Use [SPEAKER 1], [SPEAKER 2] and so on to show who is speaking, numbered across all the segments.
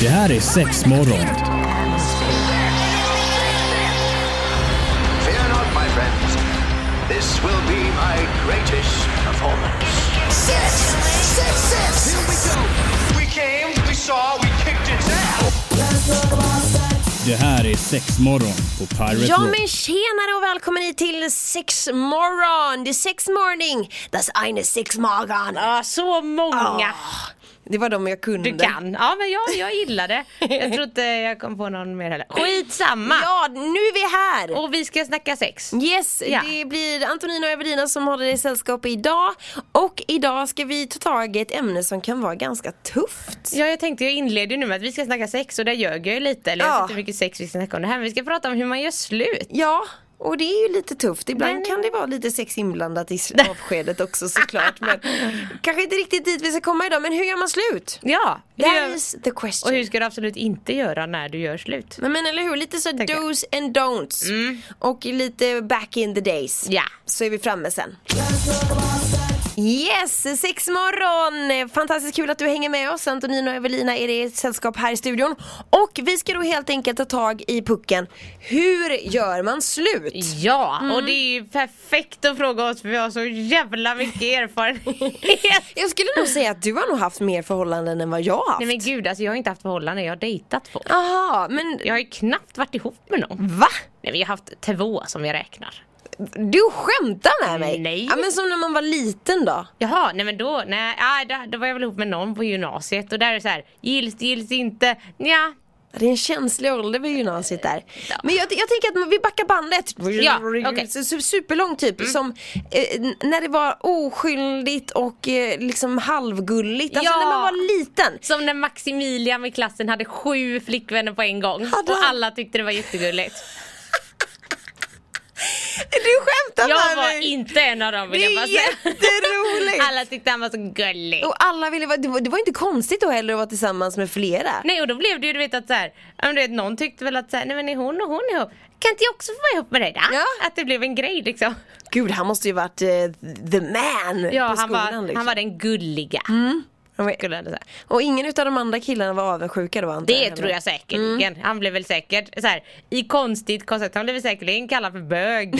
[SPEAKER 1] Det här är sex morgon.
[SPEAKER 2] Fear not, my friends. This will be my greatest performance.
[SPEAKER 3] Six, six, six. Here we go.
[SPEAKER 2] We came, we saw, we kicked its ass.
[SPEAKER 1] Det här är sex morgon på Pirate
[SPEAKER 4] Ja
[SPEAKER 1] Rock.
[SPEAKER 4] men tjenare och välkommen hit till sexmorgon! Det är sexmorning, das eine sexmorgon.
[SPEAKER 5] Ja, så många
[SPEAKER 4] Ah, det var de jag kunde.
[SPEAKER 5] du kan. Ja, men jag, jag gillar det. Jag tror inte jag kom på någon mer heller. Skitsamma!
[SPEAKER 4] Ja, nu är vi här!
[SPEAKER 5] Och vi ska snacka sex.
[SPEAKER 4] Yes,
[SPEAKER 5] Ja.
[SPEAKER 4] det blir Antonina och Evelina som håller dig sällskap idag. Och idag ska vi ta tag i ett ämne som kan vara ganska tufft.
[SPEAKER 5] Ja, jag tänkte, jag inleder ju nu med att vi ska snacka sex och där ljög jag ju lite. Eller jag
[SPEAKER 4] Ja.
[SPEAKER 5] vet inte hur mycket sex vi ska snacka om det här, men vi ska prata om hur man gör slut.
[SPEAKER 4] Ja, och det är ju lite tufft. Ibland
[SPEAKER 5] Men-
[SPEAKER 4] kan det vara lite sex inblandat i sl- avskedet också såklart. Men kanske inte riktigt dit vi ska komma idag. Men hur gör man slut?
[SPEAKER 5] Ja, hur
[SPEAKER 4] That
[SPEAKER 5] gör,
[SPEAKER 4] is the question.
[SPEAKER 5] och hur ska du absolut inte göra när du gör slut?
[SPEAKER 4] Nej, Men eller hur, lite så
[SPEAKER 5] Tänker jag. Mm.
[SPEAKER 4] do's and don'ts. Och lite back in the days.
[SPEAKER 5] Ja.
[SPEAKER 4] Så är vi framme sen. Yes, sex morgon! Fantastiskt kul att du hänger med oss. Antonina och Evelina är det i sällskap här i studion. Och vi ska då helt enkelt ta tag i pucken. Hur gör man slut?
[SPEAKER 5] Ja,
[SPEAKER 4] Mm.
[SPEAKER 5] och det är ju perfekt att fråga oss för vi har så jävla mycket erfarenhet.
[SPEAKER 4] Jag skulle nog säga att du har nog haft mer förhållanden än vad jag har haft.
[SPEAKER 5] Nej men gud, alltså jag har inte haft förhållande, jag har dejtat folk.
[SPEAKER 4] Aha, men
[SPEAKER 5] Jag har ju knappt varit ihop med någon.
[SPEAKER 4] va?
[SPEAKER 5] Nej, vi har haft två som jag räknar.
[SPEAKER 4] Du skämtar med mig?
[SPEAKER 5] Nej.
[SPEAKER 4] Ja, men som när man var liten då.
[SPEAKER 5] Jaha, nej men då, nej, aj, då, då var jag väl ihop med någon på gymnasiet och där är det så här, gills, gills inte, nja.
[SPEAKER 4] Det är en känslig ålder vid gymnasiet där.
[SPEAKER 5] Ja.
[SPEAKER 4] Men jag, jag tänker att vi backar bandet.
[SPEAKER 5] Ja, okej. Mm.
[SPEAKER 4] Så- så- Superlång typ som eh, n- när det var oskyldigt och eh, liksom halvgulligt. Alltså
[SPEAKER 5] Ja.
[SPEAKER 4] när man var liten.
[SPEAKER 5] Som när Maximilian i klassen hade sju flickvänner på en gång
[SPEAKER 4] Hade
[SPEAKER 5] och
[SPEAKER 4] han?
[SPEAKER 5] alla tyckte det var jättegulligt.
[SPEAKER 4] Du skämtar
[SPEAKER 5] Jag
[SPEAKER 4] med
[SPEAKER 5] var
[SPEAKER 4] mig!
[SPEAKER 5] inte en av dem vill
[SPEAKER 4] Det
[SPEAKER 5] jag bara
[SPEAKER 4] är
[SPEAKER 5] säga.
[SPEAKER 4] jätteroligt!
[SPEAKER 5] Alla tyckte han var så gullig.
[SPEAKER 4] Och alla ville vara, det var, det var inte konstigt då heller att vara tillsammans med flera.
[SPEAKER 5] Nej och då blev det ju du vet att så här, ja, men du vet, någon tyckte väl att så här, nej men är hon och hon ihop? Kan inte jag också få vara ihop med dig då?
[SPEAKER 4] Ja.
[SPEAKER 5] Att det blev en grej liksom.
[SPEAKER 4] Gud, han måste ju varit eh, the man
[SPEAKER 5] Ja
[SPEAKER 4] på
[SPEAKER 5] han
[SPEAKER 4] skolan
[SPEAKER 5] var,
[SPEAKER 4] liksom. Mm.
[SPEAKER 5] han var den gulliga. Skulle jag säga.
[SPEAKER 4] Och ingen av de andra killarna var avundsjuka då antar
[SPEAKER 5] Det
[SPEAKER 4] eller?
[SPEAKER 5] tror
[SPEAKER 4] Mm.
[SPEAKER 5] jag säkerligen. Han blev väl säkert så här, i konstigt koncept, han blev väl säkerligen kallad för bög.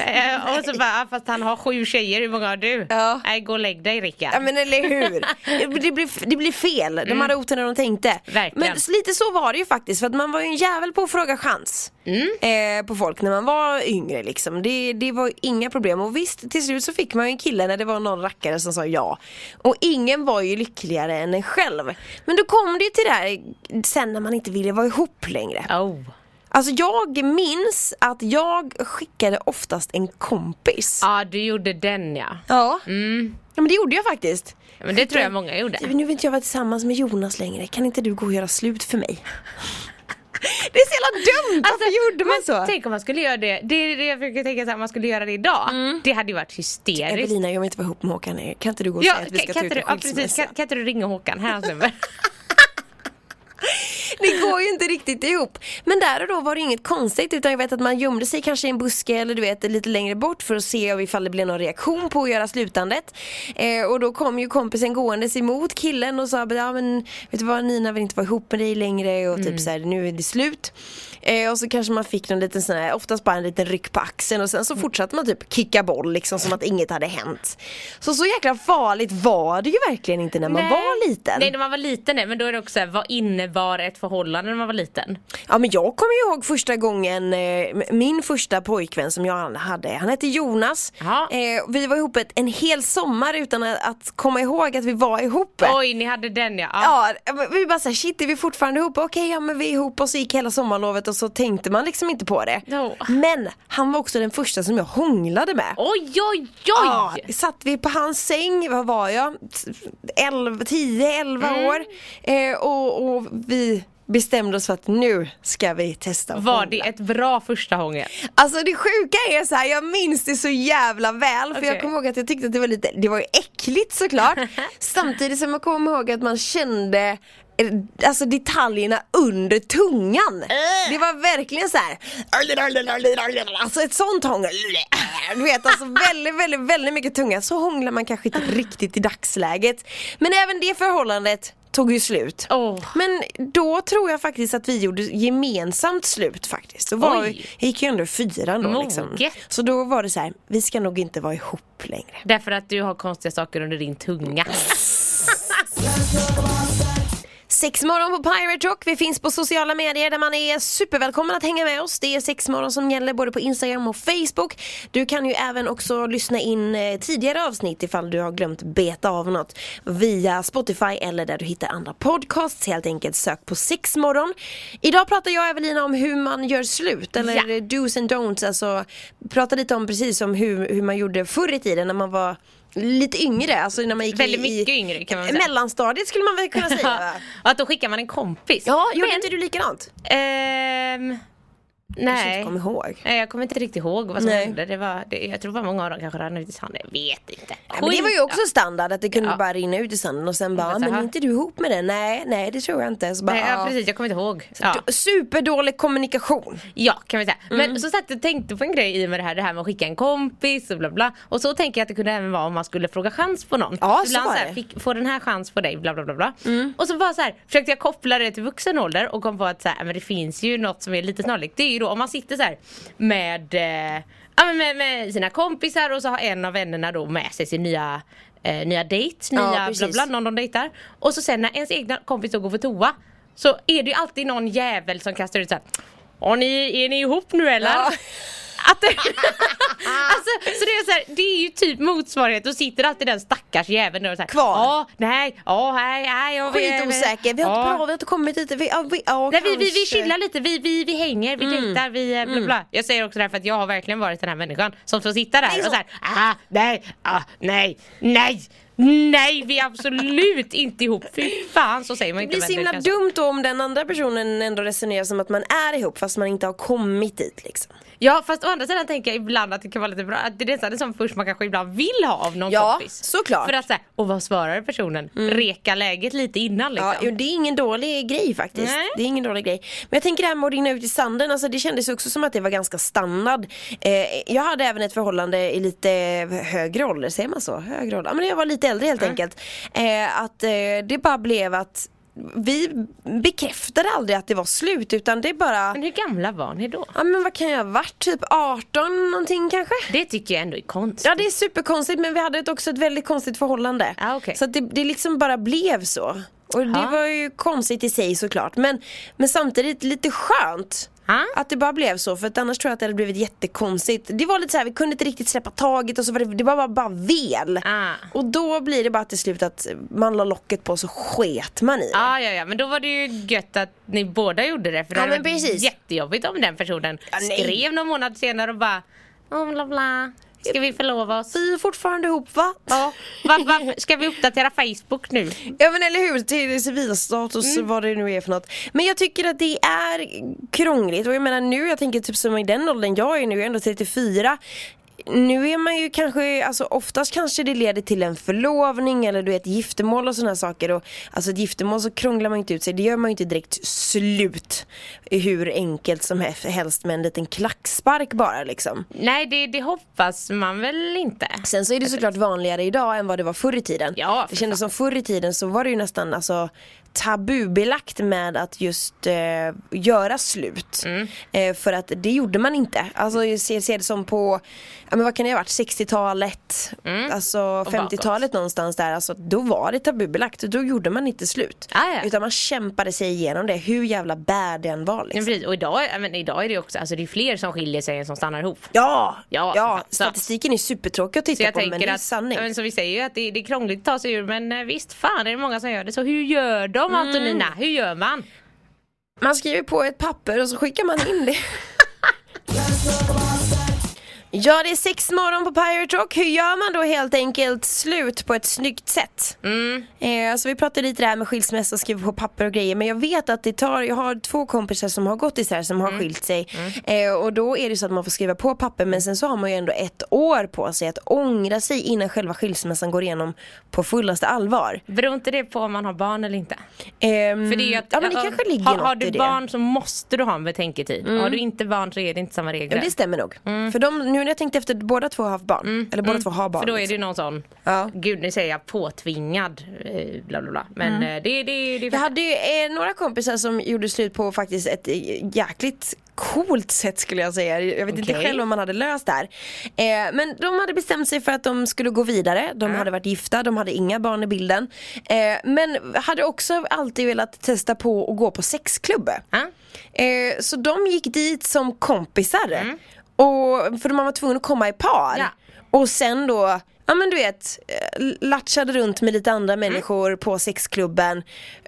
[SPEAKER 5] eh, och så bara, "Ah, fast han har sju tjejer, hur många har du?
[SPEAKER 4] Ja.
[SPEAKER 5] Nej gå och lägg dig Rickard.
[SPEAKER 4] Ja men eller hur. Det- Det blir, det blir fel. De hade otur när de tänkte.
[SPEAKER 5] Mm. Verkligen.
[SPEAKER 4] Men s- lite så var det ju faktiskt. För att man var ju en jävel på att fråga chans.
[SPEAKER 5] Mm.
[SPEAKER 4] Eh, på folk när man var yngre liksom. Det, det var ju inga problem. Och visst till slut så fick man ju en kille när det var någon rackare som sa ja. Och ingen var ju lyckligare än en själv. Men då kom det ju till det här sen när man inte ville vara ihop längre.
[SPEAKER 5] Oh.
[SPEAKER 4] Alltså jag minns att jag skickade oftast en kompis.
[SPEAKER 5] Ja Mm. du gjorde den ja.
[SPEAKER 4] Ja. ja men det gjorde jag faktiskt.
[SPEAKER 5] Men det tror jag många gjorde.
[SPEAKER 4] Du, Nu vill inte jag vara tillsammans med Jonas längre, kan inte du gå och göra slut för mig? Det är så jävla dumt, varför gjorde man
[SPEAKER 5] Alltså, men
[SPEAKER 4] så?
[SPEAKER 5] Tänk om man skulle göra det, det är det jag försöker tänka så här, om man skulle göra det idag.
[SPEAKER 4] Mm.
[SPEAKER 5] Det hade ju varit hysteriskt.
[SPEAKER 4] Evelina, jag vill inte vara ihop med Håkan längre, kan inte du gå och
[SPEAKER 5] Ja,
[SPEAKER 4] säga att vi ska ta ut
[SPEAKER 5] kan, kan, inte du,
[SPEAKER 4] en
[SPEAKER 5] ja, precis,
[SPEAKER 4] skilsmässa?
[SPEAKER 5] kan, kan inte du ringa Håkan, här är hans nummer.
[SPEAKER 4] Det går ju inte riktigt ihop. Men där och då var det inget konstigt utan jag vet att man gömde sig kanske i en buske eller du vet lite längre bort för att se om ifall det blev någon reaktion på att göra slutandet. Eh, och då kom ju kompisen gåendes emot killen och sa ja men vet du vad Nina vill inte vara ihop med dig längre och
[SPEAKER 5] Mm.
[SPEAKER 4] typ så här nu är det slut. Eh, och så kanske man fick någon liten sån här, oftast bara en liten ryck på axeln och sen
[SPEAKER 5] Mm.
[SPEAKER 4] så fortsatte man typ kicka boll liksom som att inget hade hänt. Så så jäkla farligt var det ju verkligen inte när man
[SPEAKER 5] Nej.
[SPEAKER 4] var liten.
[SPEAKER 5] Nej när man var liten nej, men då är det också så här, vad innebar ett förhållande när man var liten?
[SPEAKER 4] Ja men jag kommer ju ihåg första gången, eh, min första pojkvän som jag hade, han hette Jonas.
[SPEAKER 5] Ja.
[SPEAKER 4] Eh, vi var ihop ett, en hel sommar utan att, att komma ihåg att vi var ihop.
[SPEAKER 5] Oj ni hade den ja. Ah. ja.
[SPEAKER 4] Ja, men vi bara såhär shit är vi fortfarande ihop? Okej ja men vi är ihop och så gick hela sommarlovet och så tänkte man liksom inte på det.
[SPEAKER 5] Jo.
[SPEAKER 4] Men han var också den första som jag hånglade med.
[SPEAKER 5] Oj oj oj!
[SPEAKER 4] Ja, satt vi på hans säng, vad var jag? 11, 10, 11
[SPEAKER 5] Mm.
[SPEAKER 4] år. Eh, och, och vi bestämde oss för att nu ska vi testa att
[SPEAKER 5] Var
[SPEAKER 4] hångla.
[SPEAKER 5] det ett bra första hångel?
[SPEAKER 4] Alltså det sjuka är så här, jag minns det så jävla väl för jag
[SPEAKER 5] Okej.
[SPEAKER 4] kommer ihåg att jag tyckte att det var lite, det var ju äckligt såklart Samtidigt som jag kommer ihåg att man kände eh, Alltså detaljerna under tungan
[SPEAKER 5] Äh.
[SPEAKER 4] Det var verkligen så här. Alltså ett sånt hångel Du vet alltså väldigt, väldigt, väldigt mycket tunga Så hånglar man kanske inte riktigt i dagsläget Men även det förhållandet tog ju slut.
[SPEAKER 5] Åh.
[SPEAKER 4] Men då tror jag faktiskt att vi gjorde gemensamt slut faktiskt. Då var
[SPEAKER 5] Oj.
[SPEAKER 4] vi, jag gick ju ändå i fyran då liksom.
[SPEAKER 5] Moget.
[SPEAKER 4] Så då var det så här, vi ska nog inte vara ihop längre.
[SPEAKER 5] Därför att du har konstiga saker under din tunga.
[SPEAKER 4] Sexmorgon på Pirate Rock. Vi finns på sociala medier där man är supervälkommen att hänga med oss. Det är sexmorgon som gäller både på Instagram och Facebook. Du kan ju även också lyssna in eh, tidigare avsnitt ifall du har glömt beta av något via Spotify eller där du hittar andra podcasts. Helt enkelt sök på sexmorgon. Idag pratar jag och Evelina om hur man gör slut eller
[SPEAKER 5] Ja.
[SPEAKER 4] do's and don'ts. Alltså prata lite om precis om hur, hur man gjorde förr i tiden när man var Lite yngre, alltså när man gick
[SPEAKER 5] Väldigt
[SPEAKER 4] i,
[SPEAKER 5] mycket
[SPEAKER 4] i
[SPEAKER 5] yngre kan man väl säga.
[SPEAKER 4] mellanstadiet skulle man väl kunna säga va?
[SPEAKER 5] att då skickar man en kompis.
[SPEAKER 4] Ja, gjorde
[SPEAKER 5] Men-
[SPEAKER 4] inte du likadant?
[SPEAKER 5] Ehm,
[SPEAKER 4] Nej.
[SPEAKER 5] nej.
[SPEAKER 4] Inte kom ihåg.
[SPEAKER 5] Nej, Jag kommer inte riktigt ihåg vad som
[SPEAKER 4] Nej.
[SPEAKER 5] hände. Det var, det, jag tror det var många av dem kanske rann ut i sanden. Jag vet inte.
[SPEAKER 4] Nej, men det var ju också standard att det kunde
[SPEAKER 5] Ja.
[SPEAKER 4] bara rinna ut i sanden och sen bara,
[SPEAKER 5] Men
[SPEAKER 4] "Ah,
[SPEAKER 5] så
[SPEAKER 4] men
[SPEAKER 5] här."
[SPEAKER 4] är inte du ihop med den? Nej, nej det tror jag inte. Så bara,
[SPEAKER 5] Nej, ja,
[SPEAKER 4] "Ah."
[SPEAKER 5] precis, jag kommer inte ihåg. Ja,
[SPEAKER 4] D- Superdålig kommunikation.
[SPEAKER 5] ja kan vi säga.
[SPEAKER 4] Mm.
[SPEAKER 5] Men så satt jag och tänkte på en grej i med det här, det här med att skicka en kompis och bla bla. Och så tänker jag att det kunde även vara om man skulle fråga chans på någon.
[SPEAKER 4] Ja, så
[SPEAKER 5] Ibland
[SPEAKER 4] var
[SPEAKER 5] så här,
[SPEAKER 4] det. Mm.
[SPEAKER 5] fick, får den här chans på dig, bla bla bla. bla. Och så bara så här, försökte jag koppla det till vuxen ålder och kom på att så här, men det finns ju något som är lite snarlikt. Det är ju då om man sitter så här med, eh, ja, men med, med sina kompisar och så har en av vännerna då med sig sin nya Eh, nya dejt,
[SPEAKER 4] Ja,
[SPEAKER 5] nya bla
[SPEAKER 4] precis.
[SPEAKER 5] bla, någon de dejtar. Och så sen när ens egna kompis då går på toa så är det ju alltid någon jävel som kastar ut såhär Har ni, är ni ihop nu eller?
[SPEAKER 4] Ja.
[SPEAKER 5] Att det, alltså, så det är så här, det är ju typ motsvarighet, då sitter alltid den stackars jäveln där och såhär
[SPEAKER 4] Kvar.
[SPEAKER 5] Ja, nej, ja, nej, nej, jag vet-
[SPEAKER 4] Skitosäker, vi har
[SPEAKER 5] Ja.
[SPEAKER 4] inte bra, vi har inte kommit dit. Vi, ja, vi, ja,
[SPEAKER 5] Nej, vi, vi, vi
[SPEAKER 4] kanske. Mm.
[SPEAKER 5] chillar lite, vi, vi, vi hänger, vi dejtar, vi eh, bla bla. Jag säger också det här för att jag har verkligen varit den här människan som får sitta där
[SPEAKER 4] Det är
[SPEAKER 5] och
[SPEAKER 4] så.
[SPEAKER 5] såhär, ah, nej, ah, nej, nej, nej, vi är absolut inte ihop. Fy fan så säger man
[SPEAKER 4] Det
[SPEAKER 5] inte.
[SPEAKER 4] blir så
[SPEAKER 5] men
[SPEAKER 4] himla
[SPEAKER 5] kan-
[SPEAKER 4] dumt då om den andra personen ändå resonerar som att man är ihop fast man inte har kommit dit liksom.
[SPEAKER 5] Ja fast å andra sidan tänker jag ibland att det kan vara lite bra, att det är nästan det som först man kanske ibland vill ha av någon
[SPEAKER 4] Ja,
[SPEAKER 5] kompis.
[SPEAKER 4] såklart. Mm.
[SPEAKER 5] För att såhär, och vad svarar personen? Reka läget lite innan liksom.
[SPEAKER 4] Ja, jo, det är ingen dålig grej faktiskt.
[SPEAKER 5] Nej.
[SPEAKER 4] Det är ingen dålig grej. Men jag tänker det här med att rinna ut i sanden, alltså det kändes också som att det var ganska standard. Eh, jag hade även ett förhållande i lite högre ålder, säger man så? Högre ålder. Ja, men jag var lite äldre helt enkelt. Eh, att eh, det bara blev att vi bekräftade aldrig att det var slut utan det bara,
[SPEAKER 5] Men hur gamla var ni då?
[SPEAKER 4] ja men vad kan jag ha varit, typ 18 någonting kanske?
[SPEAKER 5] Det tycker jag ändå är konstigt.
[SPEAKER 4] Ja det är superkonstigt men vi hade ett, också ett väldigt konstigt förhållande.
[SPEAKER 5] Ah, okej. Ah.
[SPEAKER 4] Så att det, det liksom bara blev så. Och det
[SPEAKER 5] Ja.
[SPEAKER 4] var ju konstigt i sig såklart men, men samtidigt lite skönt.
[SPEAKER 5] Ja.
[SPEAKER 4] Att det bara blev så för att annars tror jag att det hade blivit jättekonstigt. Det var lite så här, vi kunde inte riktigt släppa taget och så var det, det var bara, bara vel.
[SPEAKER 5] Ah.
[SPEAKER 4] Och då blir det bara till slut att man la locket på och så sket man i det.
[SPEAKER 5] Ja, ja, ja, men då var det ju gött att ni båda gjorde det för det
[SPEAKER 4] Ja,
[SPEAKER 5] hade
[SPEAKER 4] men
[SPEAKER 5] varit
[SPEAKER 4] precis.
[SPEAKER 5] jättejobbigt om den personen
[SPEAKER 4] nej.
[SPEAKER 5] skrev någon månad senare och bara oh, bla bla, ska vi förlova oss?
[SPEAKER 4] Vi är fortfarande ihop va?
[SPEAKER 5] Ja, va, va, ska vi uppdatera Facebook nu?
[SPEAKER 4] Ja men eller hur, till civilstatus vad det nu är för något. Men jag tycker att det är krångligt och jag menar nu, jag tänker typ som i den åldern jag är nu, jag är ändå 34. Nu är man ju kanske, alltså oftast kanske det leder till en förlovning eller du vet giftermål och sådana saker. Och, alltså ett giftermål så krånglar man ju inte ut sig, det gör man ju inte direkt slut hur enkelt som he- helst med en liten klackspark bara liksom.
[SPEAKER 5] Nej, det, det hoppas man väl inte.
[SPEAKER 4] Sen så är det såklart vanligare idag än vad det var förr i tiden.
[SPEAKER 5] Ja, för
[SPEAKER 4] det kändes som förr i tiden så var det ju nästan alltså, tabubelagt med att just eh, göra slut.
[SPEAKER 5] Mm.
[SPEAKER 4] Eh, för att det gjorde man inte. Alltså jag ser, ser det som på, ja, men vad kan det ha varit, 60-talet, alltså
[SPEAKER 5] Mm. bakåt.
[SPEAKER 4] 50-talet någonstans där. Alltså, då var det tabubelagt, då gjorde man inte slut.
[SPEAKER 5] Ah, ja.
[SPEAKER 4] Utan man kämpade sig igenom det, hur jävla bad den var
[SPEAKER 5] Men
[SPEAKER 4] liksom.
[SPEAKER 5] precis, och idag, ja, men idag är det ju också, alltså det är fler som skiljer sig än som stannar ihop.
[SPEAKER 4] Ja!
[SPEAKER 5] Ja,
[SPEAKER 4] ja,
[SPEAKER 5] för fan. Så-
[SPEAKER 4] statistiken är supertråkig att
[SPEAKER 5] Så
[SPEAKER 4] titta
[SPEAKER 5] jag
[SPEAKER 4] på men det
[SPEAKER 5] tänker
[SPEAKER 4] är
[SPEAKER 5] att,
[SPEAKER 4] sanning.
[SPEAKER 5] ja, men som vi säger ju att det, det är krångligt att ta sig ur men eh, visst fan är det många som gör det. Så hur gör de Antonina?
[SPEAKER 4] Mm.
[SPEAKER 5] Hur gör man?
[SPEAKER 4] Man skriver på ett papper och så skickar man in det. Ja, det är sex morgon på Pirate Rock. Hur gör man då helt enkelt slut på ett snyggt sätt?
[SPEAKER 5] Mm.
[SPEAKER 4] Eh, så vi pratade lite det här med skilsmässa och skriva på papper och grejer. Men jag vet att det tar, jag har två kompisar som har gått isär som har
[SPEAKER 5] Mm.
[SPEAKER 4] skilt sig. Eh, och då är det så att man får skriva på papper men sen så har man ju ändå ett år på sig att ångra sig innan själva skilsmässan går igenom på fullaste allvar.
[SPEAKER 5] Beror inte det på om man har barn eller inte?
[SPEAKER 4] Ehm,
[SPEAKER 5] För det är ju att,
[SPEAKER 4] ja men det
[SPEAKER 5] ja,
[SPEAKER 4] kanske ligger
[SPEAKER 5] har,
[SPEAKER 4] något
[SPEAKER 5] har
[SPEAKER 4] i
[SPEAKER 5] du
[SPEAKER 4] det. Mm.
[SPEAKER 5] barn så måste du ha en betänketid. Har du inte barn så är det inte samma
[SPEAKER 4] Ja,
[SPEAKER 5] regler.
[SPEAKER 4] det stämmer nog. För de, nu nu när jag tänkte efter, båda två har haft barn. Eller båda två har barn.
[SPEAKER 5] Mm. För då är
[SPEAKER 4] liksom.
[SPEAKER 5] det ju någon sån,
[SPEAKER 4] Ja.
[SPEAKER 5] gud nu säger jag påtvingad, eh, bla bla bla. Men eh, det, det, det,
[SPEAKER 4] Mm. Jag hade ju eh, några kompisar som gjorde slut på faktiskt ett eh, jäkligt coolt sätt skulle jag säga. Jag vet inte
[SPEAKER 5] Okej.
[SPEAKER 4] själv om man hade löst det här. Eh, men de hade bestämt sig för att de skulle gå vidare. De hade varit gifta, de hade inga barn i bilden. Eh, men hade också alltid velat testa på att gå på sexklubb.
[SPEAKER 5] Ja.
[SPEAKER 4] Eh, så de gick dit som kompisar. Och, för man var tvungen att komma i par.
[SPEAKER 5] Mm. Ja.
[SPEAKER 4] Och sen då, ja men du vet, eh, latchade runt med lite andra
[SPEAKER 5] Mm.
[SPEAKER 4] människor på sexklubben.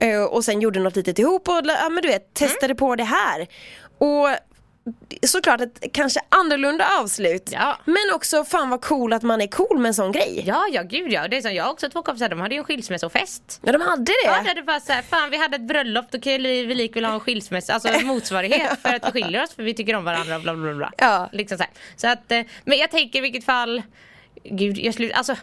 [SPEAKER 4] eh, Och sen gjorde något litet ihop och ja men du vet,
[SPEAKER 5] Mm.
[SPEAKER 4] testade på det här. Och såklart ett kanske annorlunda avslut.
[SPEAKER 5] Ja.
[SPEAKER 4] Men också fan vad cool att man är cool med en sån grej.
[SPEAKER 5] Ja, ja gud ja. Det är som jag har också två kompisar, de hade ju en skilsmässofest.
[SPEAKER 4] Ja de hade det.
[SPEAKER 5] Ja, det hade bara såhär, fan vi hade ett bröllop, då kan ju li- vi lika väl ha en skilsmässa, alltså en motsvarighet för att vi skiljer oss för vi tycker om varandra bla bla bla.
[SPEAKER 4] Ja.
[SPEAKER 5] Liksom så här. så att, eh, men jag tänker i vilket fall, gud jag slut, alltså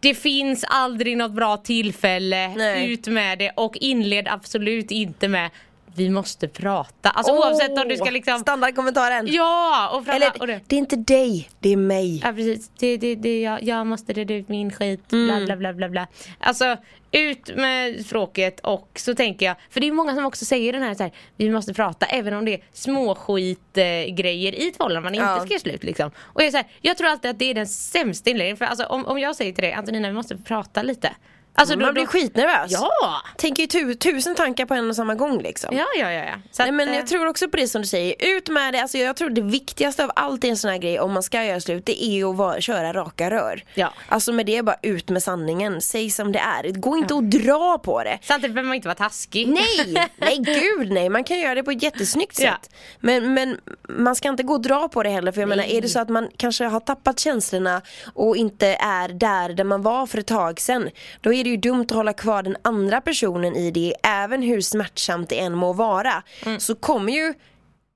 [SPEAKER 5] det finns aldrig något bra tillfälle,
[SPEAKER 4] Nej.
[SPEAKER 5] ut med det och inled absolut inte med vi måste prata. Alltså
[SPEAKER 4] Åh,
[SPEAKER 5] oavsett om du ska liksom
[SPEAKER 4] Standardkommentaren.
[SPEAKER 5] Ja! Och framför, och
[SPEAKER 4] Eller,
[SPEAKER 5] det.
[SPEAKER 4] det är inte dig, det är mig.
[SPEAKER 5] Ja precis, det, det, det, jag, jag måste reda ut min skit, bla
[SPEAKER 4] Mm.
[SPEAKER 5] bla bla bla bla. Alltså ut med språket och så tänker jag, för det är många som också säger den här, så här vi måste prata även om det är småskit eh, grejer i ett förhållande man inte
[SPEAKER 4] Ja.
[SPEAKER 5] ska göra slut liksom. Och jag, är så här, jag tror alltid att det är den sämsta inledningen, för alltså, om, om jag säger till dig Antonina vi måste prata lite. Alltså,
[SPEAKER 4] Man blir skitnervös.
[SPEAKER 5] Ja!
[SPEAKER 4] Tänker ju tu- tusen tankar på en och samma gång liksom.
[SPEAKER 5] Ja ja ja. ja. Så
[SPEAKER 4] Nej,
[SPEAKER 5] att,
[SPEAKER 4] men
[SPEAKER 5] eh,
[SPEAKER 4] jag tror också på det som du säger, ut med det. Alltså, jag tror det viktigaste av allt i en sån här grej om man ska göra slut det är att vara, köra raka rör.
[SPEAKER 5] Ja.
[SPEAKER 4] Alltså med det bara ut med sanningen, säg som det är. Gå inte och dra på det.
[SPEAKER 5] Samtidigt behöver man inte vara taskig.
[SPEAKER 4] Nej, nej gud nej. Man kan göra det på ett jättesnyggt
[SPEAKER 5] Ja.
[SPEAKER 4] sätt. Men, men man ska inte gå och dra på det heller. För jag menar,
[SPEAKER 5] Nej.
[SPEAKER 4] är det så att man kanske har tappat känslorna och inte är där, där man var för ett tag sedan. Då är det ju dumt att hålla kvar den andra personen i det. Även hur smärtsamt det än må vara.
[SPEAKER 5] Mm.
[SPEAKER 4] Så kommer ju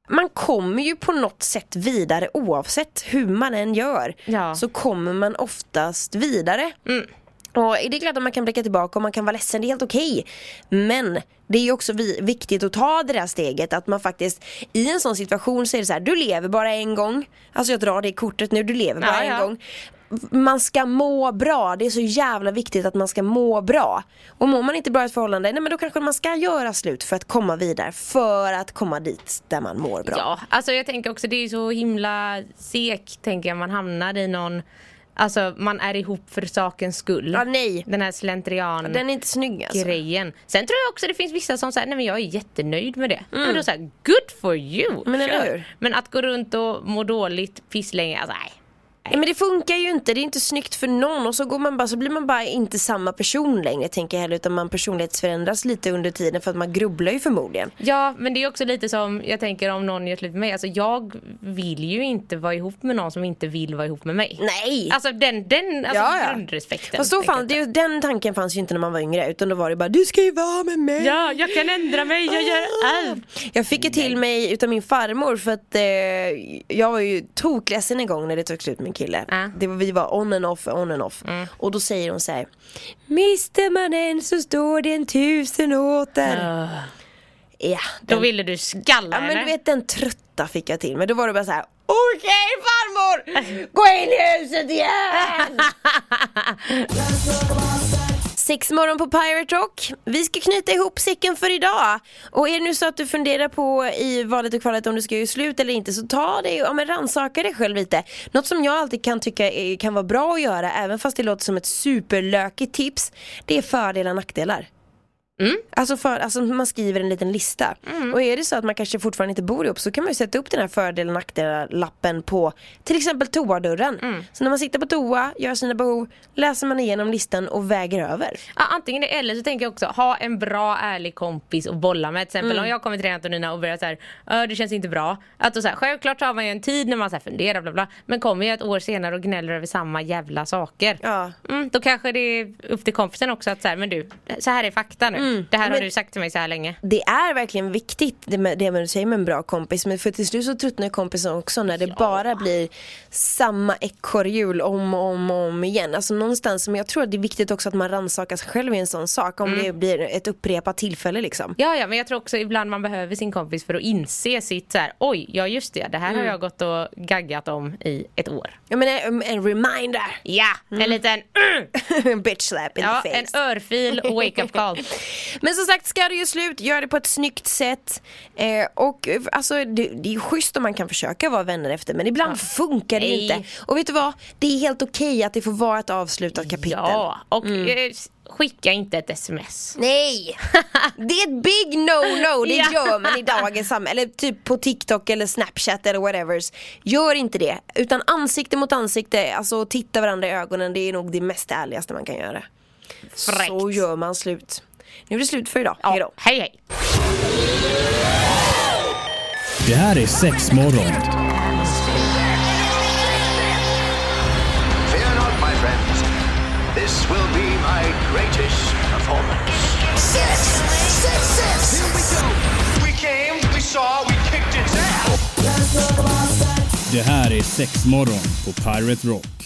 [SPEAKER 4] man kommer ju på något sätt vidare oavsett hur man än gör.
[SPEAKER 5] Ja.
[SPEAKER 4] Så kommer man oftast vidare. Och det är klart att man kan blicka tillbaka och man kan vara ledsen, det är helt okej. Men det är ju också vi- viktigt att ta det där steget att man faktiskt i en sån situation så är det så här, du lever bara en gång. Alltså jag drar det kortet nu, du lever bara
[SPEAKER 5] Ja,
[SPEAKER 4] en
[SPEAKER 5] ja.
[SPEAKER 4] gång. Man ska må bra, det är så jävla viktigt att man ska må bra. Och mår man inte bra i ett förhållande, nej men då kanske man ska göra slut för att komma vidare. För att komma dit där man mår bra.
[SPEAKER 5] Ja, alltså jag tänker också det är så himla sek tänker jag man hamnar i någon Alltså man är ihop för sakens skull.
[SPEAKER 4] Ja, nej.
[SPEAKER 5] Den här slentrian
[SPEAKER 4] Den är inte snygg alltså. Mm.
[SPEAKER 5] grejen. Sen tror jag också det finns vissa som säger nej men jag är jättenöjd med det. Men då säger good for you!
[SPEAKER 4] Men eller
[SPEAKER 5] Kör.
[SPEAKER 4] hur?
[SPEAKER 5] Men att gå runt och må dåligt pisslänge, alltså nej.
[SPEAKER 4] Nej, men det funkar ju inte, det är inte snyggt för någon och så, går man bara, så blir man bara inte samma person längre tänker jag heller utan man personlighetsförändras lite under tiden för att man grubblar ju förmodligen.
[SPEAKER 5] Ja men det är också lite som, jag tänker om någon gör slut med mig, alltså jag vill ju inte vara ihop med någon som inte vill vara ihop med mig.
[SPEAKER 4] Nej!
[SPEAKER 5] Alltså den, den alltså
[SPEAKER 4] Ja, ja.
[SPEAKER 5] grundrespekten.
[SPEAKER 4] Fast då
[SPEAKER 5] tänker jag.
[SPEAKER 4] fan, det, den tanken fanns ju inte när man var yngre utan då var det bara du ska ju vara med mig.
[SPEAKER 5] Ja, jag kan ändra mig, jag gör allt.
[SPEAKER 4] Jag fick ju till mig utav min farmor för att eh, jag var ju tokledsen en gång när det tog slut med min kille.
[SPEAKER 5] Ja.
[SPEAKER 4] Det var, vi var on and off, on and off. Och då säger hon så här. Mister man en så står det en tusen åter. Ja,
[SPEAKER 5] Då
[SPEAKER 4] den-
[SPEAKER 5] ville du skalla
[SPEAKER 4] Ja men
[SPEAKER 5] henne.
[SPEAKER 4] du vet den trötta fick jag till men då var det bara så här. Okej farmor! Gå in i huset igen! Sex morgon på Pirate Rock. Vi ska knyta ihop säcken för idag. Och är det nu så att du funderar på i valet och kvalet om du ska göra slut eller inte så ta dig, ja men rannsaka dig själv lite. Något som jag alltid kan tycka är, kan vara bra att göra även fast det låter som ett superlökigt tips. Det är fördelar och nackdelar. Alltså, för, alltså man skriver en liten lista. Och är det så att man kanske fortfarande inte bor ihop så kan man ju sätta upp den här fördel och nackdelar-lappen på till exempel toadörren. Så när man sitter på toa, gör sina behov, läser man igenom listan och väger över.
[SPEAKER 5] Ja, antingen det eller så tänker jag också ha en bra ärlig kompis att bolla med. Till exempel om jag kommer till dig Antonina och börjar så här, "Ö, det känns inte bra. Att då så här, självklart har man ju en tid när man så här funderar bla bla. Men kommer jag ett år senare och gnäller över samma jävla saker.
[SPEAKER 4] Ja.
[SPEAKER 5] Mm, då kanske det är upp till kompisen också att så här, men du, så här är fakta nu. Det här har
[SPEAKER 4] Men-
[SPEAKER 5] du sagt till mig så här länge.
[SPEAKER 4] Det är verkligen viktigt det med, det med du säger med en bra kompis men för till slut så tröttnar ju kompisen också när det bara blir samma ekorrhjul om och om och om igen. Alltså någonstans, men jag tror att det är viktigt också att man rannsakar sig själv i en sån sak om det blir ett upprepat tillfälle liksom.
[SPEAKER 5] Ja, ja, men jag tror också ibland man behöver sin kompis för att inse sitt så här, oj, ja just det, det här
[SPEAKER 4] Mm.
[SPEAKER 5] har jag gått och gaggat om i ett år.
[SPEAKER 4] Jag menar en, en reminder,
[SPEAKER 5] Ja, en liten,
[SPEAKER 4] en bitch slap in
[SPEAKER 5] ja,
[SPEAKER 4] the face.
[SPEAKER 5] en örfil och wake up call.
[SPEAKER 4] Men som sagt, ska du ju slut, gör det på ett snyggt sätt. Eh, och eh, alltså, det, det är ju schysst om man kan försöka vara vänner efter men ibland funkar det
[SPEAKER 5] Nej.
[SPEAKER 4] inte. Och vet du vad? Det är helt okej att det får vara ett avslutat kapitel.
[SPEAKER 5] Ja, och eh, skicka inte ett sms.
[SPEAKER 4] Nej! Det är ett big no-no, det
[SPEAKER 5] Ja.
[SPEAKER 4] gör man i dagens samhälle. Eller typ på TikTok eller Snapchat eller whatevers. Gör inte det, utan ansikte mot ansikte, alltså titta varandra i ögonen, det är nog det mest ärligaste man kan göra.
[SPEAKER 5] Fräckt.
[SPEAKER 4] Så gör man slut. Nu är det slut för idag, hejdå.
[SPEAKER 5] Ja, hej hej.
[SPEAKER 1] Det här är sex morgon.
[SPEAKER 2] Fear not, my friends. This will be my greatest performance.
[SPEAKER 3] Six, six, six. Here we go.
[SPEAKER 2] We came, we saw, we kicked its ass.
[SPEAKER 1] Det här är sex morgon på Pirate Rock.